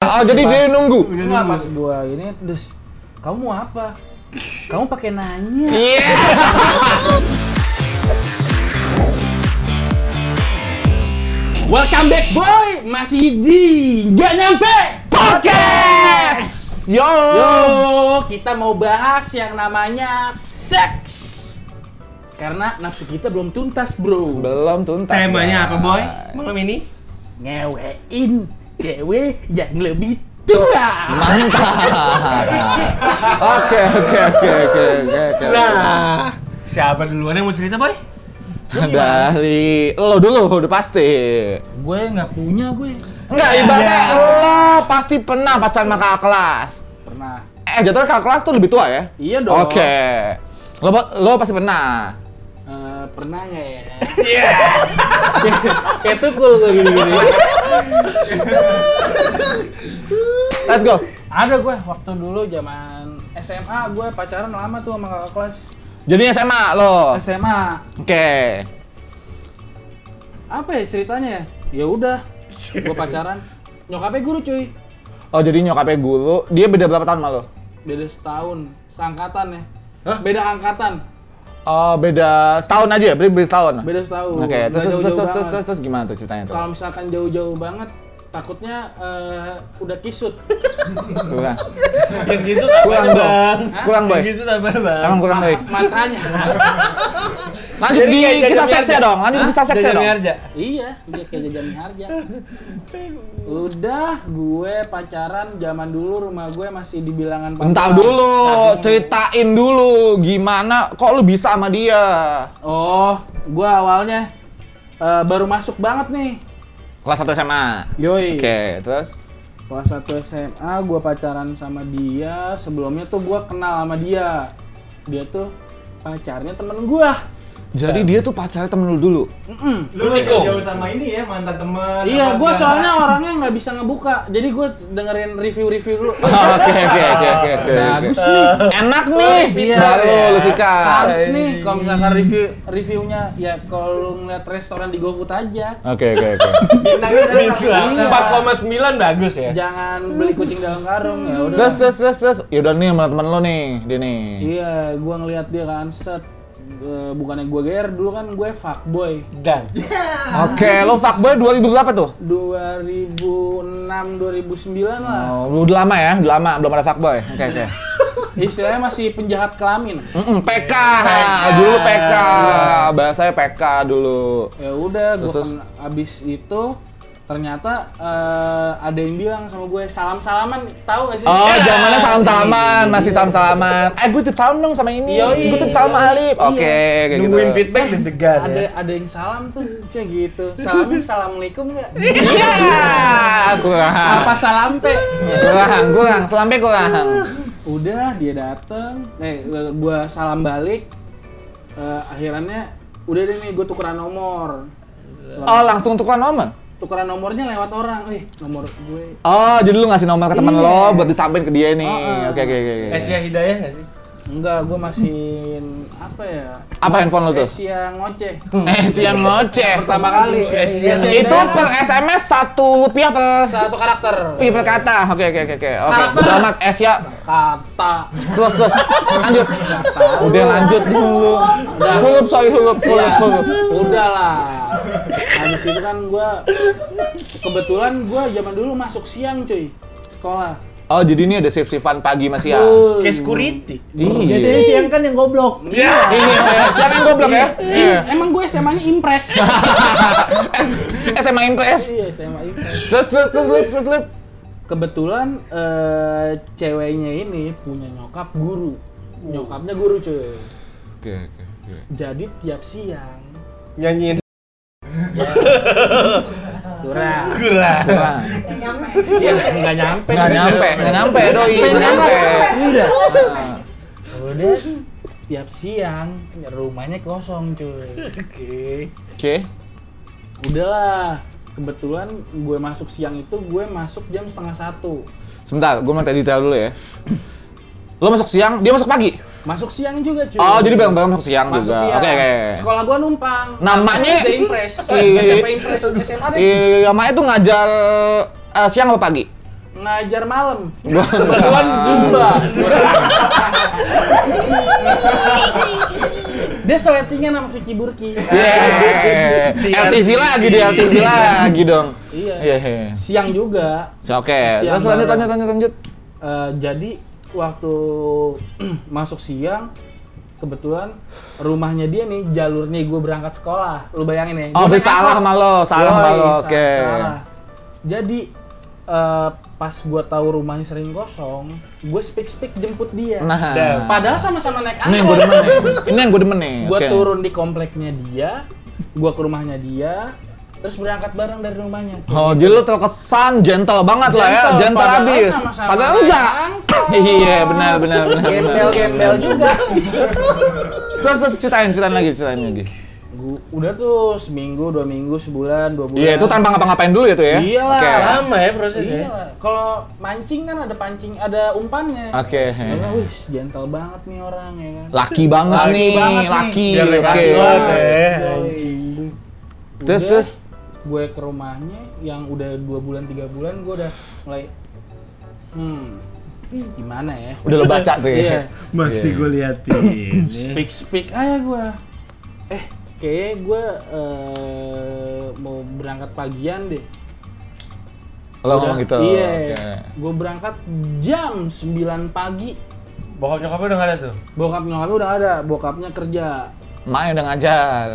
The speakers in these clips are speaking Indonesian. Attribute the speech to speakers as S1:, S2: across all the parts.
S1: Oh, jadi dia nunggu.
S2: Enggak pas gua ini terus kamu mau apa? Kamu pakai nanya.
S3: Welcome back boy, masih di nggak nyampe podcast.
S1: Yo.
S3: Yo, kita mau bahas yang namanya seks. Karena nafsu kita belum tuntas bro.
S1: Belum tuntas. Bang.
S4: Temanya apa boy? Malam ini?
S3: Ngewein cewek yang lebih tua.
S1: Nah. Oke, oke, oke, oke, oke, oke.
S4: Nah, siapa duluan yang mau cerita boy?
S1: Dari lo dulu udah pasti.
S3: Gue nggak punya gue.
S1: Enggak, ibaratnya lo pasti pernah pacaran sama kakak kelas.
S3: Pernah.
S1: Eh, jatuhnya kakak kelas tuh lebih tua ya?
S3: Iya dong.
S1: Oke. Lo, lo pasti pernah.
S3: Eh, pernah nggak ya? Iya. Kayak tukul gue gini-gini.
S1: Let's go.
S3: Ada gue waktu dulu zaman SMA gue pacaran lama tuh sama kakak kelas.
S1: Jadi SMA lo. Oke.
S3: SMA apa ya ceritanya ya? Ya udah, gue pacaran. Nyokapnya guru cuy,
S1: Oh, jadi nyokapnya guru, dia beda berapa tahun sama lo?
S3: beda setahun, seangkatan ya. Beda angkatan,
S1: Oh, beda setahun aja ya? Berarti beda setahun?
S3: beda setahun.
S1: Oke,
S3: Nggak
S1: terus, terus, terus,
S3: jauh-jauh
S1: terus, terus,
S3: banget.
S1: terus gimana tuh ceritanya tuh?
S3: Kalau misalkan jauh-jauh banget, takutnya eh, udah kisut.
S1: Kurang,
S4: Yang gisut apa
S1: kurang dong, kurang boy.
S4: Yang
S3: gitu.
S4: gisut apa bang?
S1: Emang kurang boy.
S3: Matanya.
S1: Lanjut
S4: Jadi
S1: di
S4: kayak
S1: kisah
S4: jajan
S1: seksnya
S4: biarja.
S1: dong, lanjut di kisah seksnya
S4: Jajan
S1: dong.
S4: Miharja.
S3: iya, dia kayak jajan harga. Udah, gue pacaran zaman dulu rumah gue masih di bilangan
S1: Bentar
S3: Pakuan.
S1: dulu,
S3: Tadi-
S1: ceritain dulu gimana kok lu bisa sama dia?
S3: Oh, gue awalnya eh, baru masuk banget nih.
S1: Kelas 1 SMA.
S3: Yoi.
S1: Oke, terus
S3: Kelas 1 SMA gue pacaran sama dia. Sebelumnya tuh gue kenal sama dia. Dia tuh pacarnya temen gue.
S1: jadi dia tuh pacar temen lu dulu.
S5: Lu udah jauh-jauh sama ini ya mantan teman.
S3: Iya, gue soalnya orangnya nggak bisa ngebuka. Jadi gue dengerin review-review dulu.
S1: Oke, oke, oke, oke, oke.
S3: Bagus nih.
S1: Enak nih.
S3: Iya.
S1: Baru lu sikat.
S3: Harus nih kalau misalkan review reviewnya ya kalau lu ngeliat restoran di GoFood aja.
S1: Oke, oke, oke.
S4: Nah, gitu.
S3: Iya.
S4: 4,9 bagus ya.
S3: Jangan beli kucing dalam karung ya udah.
S1: Terus, terus, terus, terus. Yaudah nih sama temen lu nih, dia nih.
S3: Iya, gua ngelihat dia kan set eh, bukannya gue GR dulu kan gue fuckboy
S4: Dan
S1: Oke, lu fuckboy 2000 berapa tuh?
S3: 2006 2009 lah.
S1: Oh, lu udah lama ya, udah lama belum ada fuckboy. Oke, oke.
S3: Istilahnya masih penjahat kelamin.
S1: Mm-mm, PK, dulu PK. Bahasanya PK dulu.
S3: Ya udah gua
S1: Terus, terus.
S3: kan abis itu ternyata eh, ada yang bilang sama gue salam-salaman tahu gak sih?
S1: Oh, zamannya salam-salaman, masih salam-salaman. Eh, gue titip salam dong sama ini.
S3: Yoi.
S1: Gue titip salam sama Alif.
S3: Iya.
S1: Oke, kayak gitu.
S4: nungguin feedback deg-degan
S3: ada
S1: iya.
S4: ya.
S3: ada yang salam tuh cek gitu. Salamin assalamualaikum enggak?
S1: Iya, kurang.
S3: Apa salam pe?
S1: Kurang, kurang. Selampe kurang.
S3: udah dia dateng eh gua salam balik Eh, akhirnya udah deh nih gue tukeran nomor
S1: Oh, langsung tukeran nomor.
S3: tukeran nomornya lewat orang eh nomor gue
S1: Oh, jadi lu ngasih nomor ke teman
S3: Iya.
S1: lo buat disampein ke dia nih.
S3: Oh, oh.
S1: Oke, oke, oke. oke.
S4: Asia Hidayah nggak sih?
S3: enggak gue masih apa ya
S1: Apa handphone lo tuh?
S3: Asia ngoceh
S1: Eh, siang ngoceh.
S3: pertama kali
S4: Asia.
S3: Asia
S1: Itu
S3: Hidayat,
S1: per SMS satu rupiah per
S3: satu karakter
S1: Iya berkata. Oke oke oke oke. Oke.
S3: Karakter.
S1: Udah amat es ya.
S3: kata
S1: Terus terus. Lanjut. Udah lanjut dulu.
S3: Udah.
S1: Hulup sorry hulup hulup
S3: Iya,
S1: hulup.
S3: udah lah habis itu kan gue kebetulan gue zaman dulu masuk siang cuy sekolah
S1: Oh jadi ini ada shift shiftan pagi mas ya.
S3: Wuih.
S4: Kayak security.
S1: Iya.
S2: Biasanya siang kan yang goblok.
S3: Iya.
S1: Ini ya. Siapa yang goblok ya? Iya.
S3: Em- Emang gue SMA-nya impres.
S1: Eh SMA impres.
S3: Iya, SMA impres.
S1: Terus terus terus terus terus. terus.
S3: Kebetulan eh, ceweknya ini punya nyokap guru. Nyokapnya guru cuy.
S1: Oke oke. oke.
S3: Jadi tiap siang
S4: Nyanyiin
S3: kurang
S4: gula.
S1: Kurang.
S3: nggak nyampe.
S1: Nggak nyampe, nggak nyampe doi, nggak nyampe.
S3: Udah. Udah tiap siang rumahnya kosong cuy.
S1: Oke.
S3: Udahlah. Kebetulan gue masuk siang itu gue masuk jam setengah satu.
S1: Sebentar, gue minta detail dulu ya. Lo masuk siang, dia masuk pagi.
S3: Masuk siang juga cuy.
S1: Oh, jadi bareng-bareng masuk siang
S3: Iya. Masuk
S1: juga.
S3: siang.
S1: Oke, oke.
S3: Sekolah gua numpang.
S1: Namanya-
S3: Udah impress.
S1: Iya.
S3: SMP impress. SMA deh.
S1: Iya, makanya tuh ngajar eh, siang apa pagi? Iya,
S3: ngajar malam. Ah.
S1: Gua
S3: Kebetulan Zumba. Dia seletingan sama Vicky Burki.
S1: iya, Yeah. LTV lagi di LTV lagi dong.
S3: Iya.
S1: Yeah.
S3: Siang juga.
S1: So, Oke, terus
S3: Siang
S1: lanjut
S3: bareng.
S1: lanjut lanjut lanjut.
S3: Eh, jadi waktu masuk siang kebetulan rumahnya dia nih jalurnya gue berangkat sekolah lu bayangin ya
S1: Oh,
S3: Gua
S1: dia
S3: naik
S1: salah
S3: angkot.
S1: sama lo, salah sama
S3: Yoi,
S1: lo.
S3: sa-
S1: Oke.
S3: salah. jadi eh, pas gue tahu rumahnya sering kosong gue speak speak jemput dia
S1: Nah.
S3: padahal sama-sama naik
S1: Ini yang gue
S3: angkot
S1: demen nih. Ini yang gue demen nih.
S3: gue
S1: Oke.
S3: turun di kompleknya dia gue ke rumahnya dia terus berangkat bareng dari rumahnya
S1: Oh, jadi lu terkesan gentle banget lah ya,
S3: Gentle,
S1: gentle
S3: padahal
S1: abis.
S3: sama-sama
S1: Padahal
S3: naik
S1: enggak.
S3: angkot.
S1: Iya, benar benar benar. benar,
S3: gembel gembel
S1: benar.
S3: juga
S1: Terus terus ceritain ceritain lagi ceritain lagi.
S3: Gu- udah tuh seminggu dua minggu sebulan dua bulan
S1: Iya, itu tanpa ngapa-ngapain dulu ya tuh ya.
S3: Iyalah.
S1: Oke.
S4: Lama ya prosesnya.
S3: Iya lah. Kalau mancing kan ada pancing, ada umpannya.
S1: Oke.
S3: Karena wih, gentle banget nih orang ya kan.
S1: Laki banget
S3: Laki
S1: nih,
S3: banget nih.
S1: laki.
S4: Biar
S1: Oke.
S4: laki banget ya.
S1: Terus
S3: Udah,
S1: terus
S3: Gue ke rumahnya yang udah dua bulan tiga bulan gue udah mulai hmm gimana ya?
S1: udah lo baca tuh ya.
S3: Iya.
S4: Masih gue liatin.
S3: Speak speak aja gue. Eh, kayaknya gue eh, mau berangkat pagian deh.
S1: Lo
S3: Udah,
S1: ngomong gitu.
S3: Iya.
S1: Oke.
S3: Gue berangkat jam 9 pagi.
S4: Bokap nyokapnya udah gak ada tuh.
S3: Bokap nyokapnya udah ada, bokapnya kerja.
S1: Emaknya udah ngajar,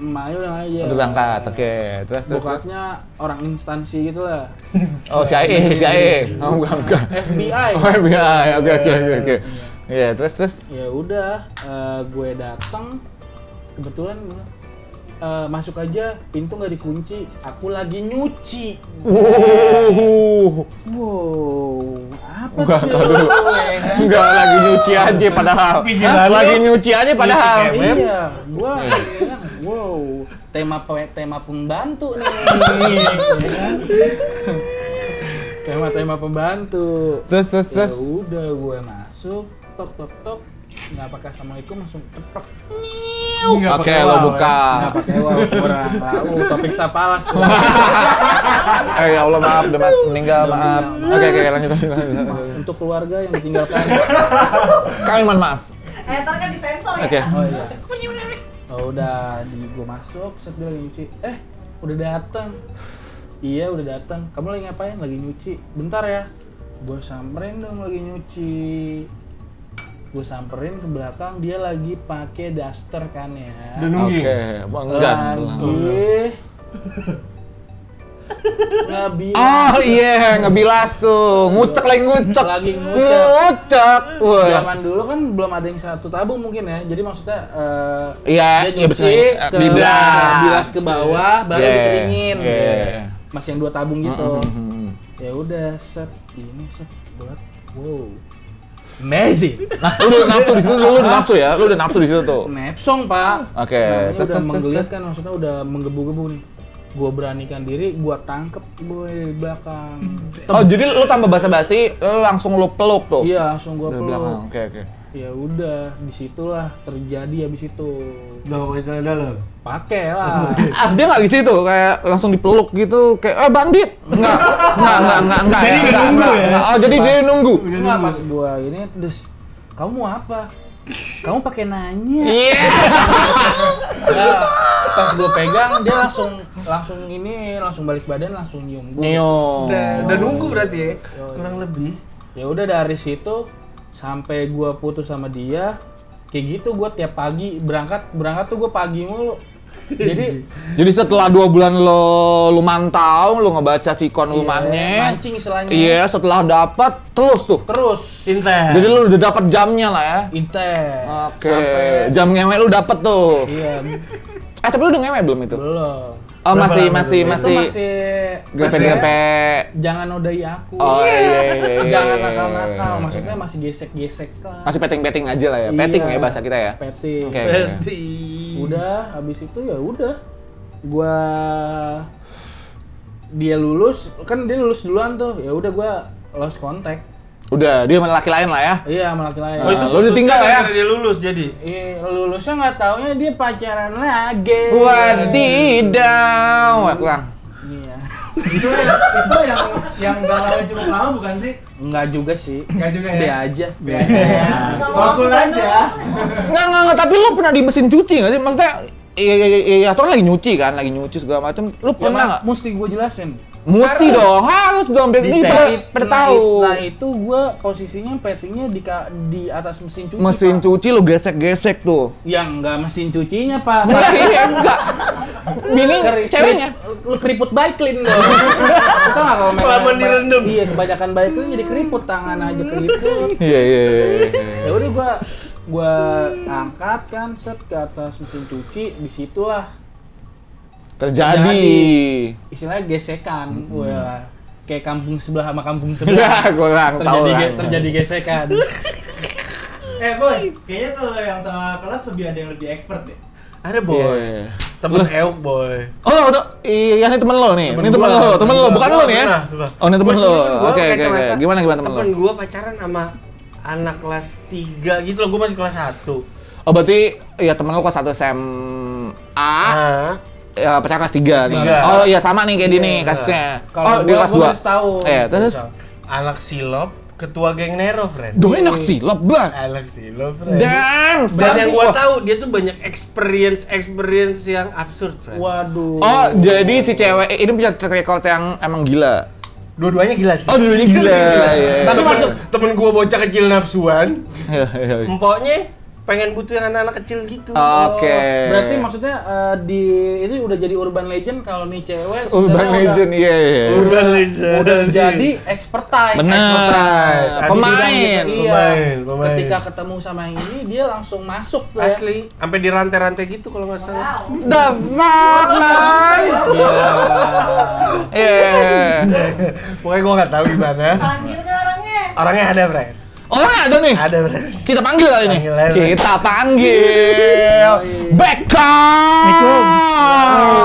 S3: Emaknya udah aja.
S1: udah berangkat. Oke, terus terus. terus.
S3: Iya. Bokapnya orang instansi gitu lah.
S1: Oh, si Ae, si Ae. Oh, bukan, bukan.
S3: FBI.
S1: Oh, FBI. Oke, oke, oke, oke. Iya, terus terus.
S3: Ya udah, eh, gue datang kebetulan gua, eh, masuk aja pintu nggak dikunci aku lagi nyuci
S1: Wuh.
S3: wow apa
S1: Enggak,
S3: tuh?
S1: entar dulu. Enggak lagi nyuci aja padahal.
S4: Pikiran lu.
S1: Lagi nyuci aja padahal.
S4: Nyuci
S3: iya gua bilang, wow tema pe- tema pembantu nih Ya kan? tema-tema pembantu
S1: Terus terus terus.
S3: Ya udah gue masuk, tok tok tok, nggak pakai assalamualaikum langsung keprek.
S1: Oke, lo buka.
S3: Nggak pakai wow, kurang tahu topik sapalas.
S1: Eh, ya Allah maaf, udah mat- meninggal, maaf. Oke, oke, lanjut lanjut. lanjut.
S3: Untuk keluarga yang ditinggalkan.
S1: Kami mohon maaf.
S6: Eh, ntar kan disensor ya.
S1: Oke.
S3: Oh iya. Oh, udah di gue masuk, set dia lagi nyuci. Eh, udah datang. Iya, udah datang. Kamu lagi ngapain? Lagi nyuci. Bentar ya. Gue samperin dong lagi nyuci. Gue samperin ke belakang, dia lagi pakai daster kan ya.
S4: Udah nungging.
S1: Oke, Bang, enggak.
S3: lagi ngebilang
S1: Oh iya, ngebilas tuh. Ngucek lagi ngucek.
S3: Lagi ngucek.
S1: Ngucek. Wah.
S3: zaman dulu kan belum ada yang satu tabung mungkin ya jadi maksudnya eh,
S1: Iya,
S3: dia
S1: iya,
S3: nyuci
S1: betul. Iya,
S3: ke
S1: Dibilas.
S3: bilas ke bawah baru
S1: Yeah,
S3: dikeringin
S1: yeah.
S3: masih yang dua tabung gitu
S1: Hmm.
S3: ya udah set ini set buat wow amazing
S1: Nah, lu udah nafsu di situ, lu udah nafsu ya. Lu udah nafsu di situ tuh.
S3: Nepsong pak.
S1: Oke, terus,
S3: Namanya Nah, udah
S1: terus,
S3: menggeliat
S1: terus,
S3: kan maksudnya udah menggebu-gebu nih. Gua beranikan diri, gua tangkep boy di belakang.
S1: Oh, jadi lu tambah basa-basi, lu langsung lu peluk tuh.
S3: Iya langsung gua
S1: Dari belakang.
S3: peluk.
S1: Oke, oke.
S3: Ya udah, disitulah terjadi habis itu.
S4: Udah pokoknya celana dalam.
S3: Pakai lah.
S1: Ah, dia nggak di situ, kayak langsung dipeluk gitu, kayak eh bandit. Enggak, enggak, enggak, enggak, enggak. ya,
S4: Jadi dia
S1: enggak,
S4: nunggu
S1: enggak,
S4: ya?
S1: enggak. Oh, jadi dia nunggu.
S3: Enggak pas gua ini, dus kamu mau apa? Kamu pakai nanya.
S1: Iya.
S3: Nah, pas gua pegang dia langsung langsung ini langsung balik badan langsung nyium gua.
S1: Neo.
S4: Udah, udah nunggu berarti ya. Kurang lebih.
S3: ya udah dari situ sampai gua putus sama dia kayak gitu gua tiap pagi berangkat berangkat tuh gua pagi mulu jadi
S1: Jadi setelah dua bulan lo lu mantau, lu ngebaca sikon
S3: ya,
S1: rumahnya.
S3: mancing istilahnya
S1: Iya, setelah dapat terus tuh.
S3: terus
S4: Intens.
S1: Jadi lu udah dapat jamnya lah ya.
S3: intens
S1: Oke, jam ngewe lu dapet tuh.
S3: iya
S1: Eh, tapi lu udah ngewe belum itu?
S3: belum
S1: Oh,
S4: Berapa
S1: masih
S4: lama
S1: masih
S4: dulu?
S1: masih
S3: itu masih
S1: grepe-grepe.
S3: jangan nodai aku
S1: Oh iya iya. iya,
S3: jangan
S1: iya,
S3: nakal-nakal
S1: iya.
S3: maksudnya masih gesek-gesek lah
S1: masih peting-peting aja lah ya. Peting ya
S3: Iya,
S1: bahasa kita ya.
S3: peting
S1: Oke.
S4: Berarti.
S3: udah habis itu ya udah gua dia lulus kan dia lulus duluan tuh ya udah gua lost contact
S1: Udah, dia sama laki lain lah ya.
S3: iya sama laki lain
S1: Oh, itu- Nah, lu ditinggal ya?
S4: gara-gara Dia lulus jadi.
S3: Iya, lulusnya nggak taunya dia pacaran lagi
S1: Wadidaw. Wah, kurang.
S3: iya
S5: itu
S4: ya,
S5: itu yang yang galau cukup lama bukan sih?
S3: Enggak juga sih.
S5: Enggak juga
S1: Iya.
S5: ya?
S3: Be aja.
S5: Be aja ya. Sokul aja.
S1: Nggak, nggak, nggak, tapi lu pernah di mesin cuci nggak sih? Maksudnya, iya, iya, iya, iya, atau lagi nyuci kan, lagi nyuci segala macam. Lu
S3: Ya,
S1: pernah nggak?
S3: mesti gue jelasin.
S1: Mesti dong, harus dong, biar ini
S4: Detail.
S1: pada,
S3: Nah,
S1: pada
S3: nah,
S1: tahu.
S3: Nah, itu gue posisinya pettingnya di ka- di atas mesin cuci.
S1: Mesin
S3: Pak.
S1: cuci lu gesek-gesek tuh.
S3: Yang enggak mesin cucinya, Pak.
S1: Enggak, iya, enggak. Bini
S3: Keri-
S1: ceweknya.
S3: keri- Lu keriput baiklin dong. Kita nggak kalau main-
S4: Kelamaan direndam.
S3: Iya, kebanyakan baiklin jadi keriput tangan aja keriput.
S1: Iya, iya, iya.
S3: ya udah gua gua angkat kan set ke atas mesin cuci disitulah
S1: Terjadi.
S3: istilahnya
S1: Hmm.
S3: gesekan wah kayak kampung sebelah sama kampung
S1: Ya,
S3: sebelah
S1: kurang tahu
S3: terjadi
S1: lah.
S3: ge- terjadi gesekan
S5: Eh boy, kayaknya kalau yang sama kelas lebih ada yang lebih expert deh.
S4: Ada
S1: Iya,
S4: boy.
S1: iya.
S4: Temen euk boy.
S1: Oh, udah. Iya, ini temen lo nih.
S4: Temen
S1: ini temen
S4: gua,
S1: lo, temen lo, bukan
S4: gua,
S1: lo nih ya.
S4: pernah, pernah.
S1: Oh, ini temen
S4: Gua
S1: lo.
S4: cuman, gua
S1: Oke,
S4: pakai
S1: oke, oke.
S4: kacamata.
S1: Gimana gimana temen lo?
S4: Temen gua pacaran sama anak kelas 3 gitu loh, gua masih kelas 1.
S1: Oh, berarti ya temen lo kelas 1 SMA,
S4: Ah.
S1: ya pacar kelas 3 nih.
S4: Tiga.
S1: Oh, iya sama nih kayak Dini kasusnya.
S3: Kalau
S1: oh, di
S3: gua-
S1: kelas
S3: gua
S1: 2.
S3: udah setahun.
S1: Eh, terus
S4: Iya. Anak silop, ketua geng Nero, friend.
S1: dong enak sih, lo bang.
S4: Anak silop, friend.
S1: Damn,
S4: Dan Iya. yang
S1: gua
S4: gua tahu dia tuh banyak experience experience yang absurd, friend.
S3: waduh
S1: Oh, jadi si cewek ini punya track record yang emang gila.
S4: Dua-duanya gila sih.
S1: Oh, dulunya gila. Iya, iya.
S3: Tapi maksud-
S4: temen gua bocah kecil nafsuan,
S1: Iya, iya, iya.
S4: empoknya pengen butuh yang anak-anak kecil gitu.
S1: Oke.
S3: berarti maksudnya eh, di itu udah jadi urban legend kalau nih cewek
S1: urban
S3: sebenarnya udah-
S1: legend, iya, iya.
S4: Urban legend.
S3: udah jadi expertise
S1: Benar.
S4: Asli.
S1: Pemain.
S3: Iya.
S4: Pemain, pemain.
S3: Ketika ketemu sama yang ini dia langsung masuk tuh ya.
S4: Asli, sampai di rantai-rantai gitu kalau nggak salah.
S1: The fuck, man. Iya.
S4: Pokoknya gua nggak tahu gimana.
S6: Panggil ke orangnya.
S4: Orangnya ada, friend.
S1: Orang Oh, ada nih.
S4: Ada, friend.
S1: Kita panggil kali ini.
S4: Panggil aja.
S1: Kita panggil. Beckham.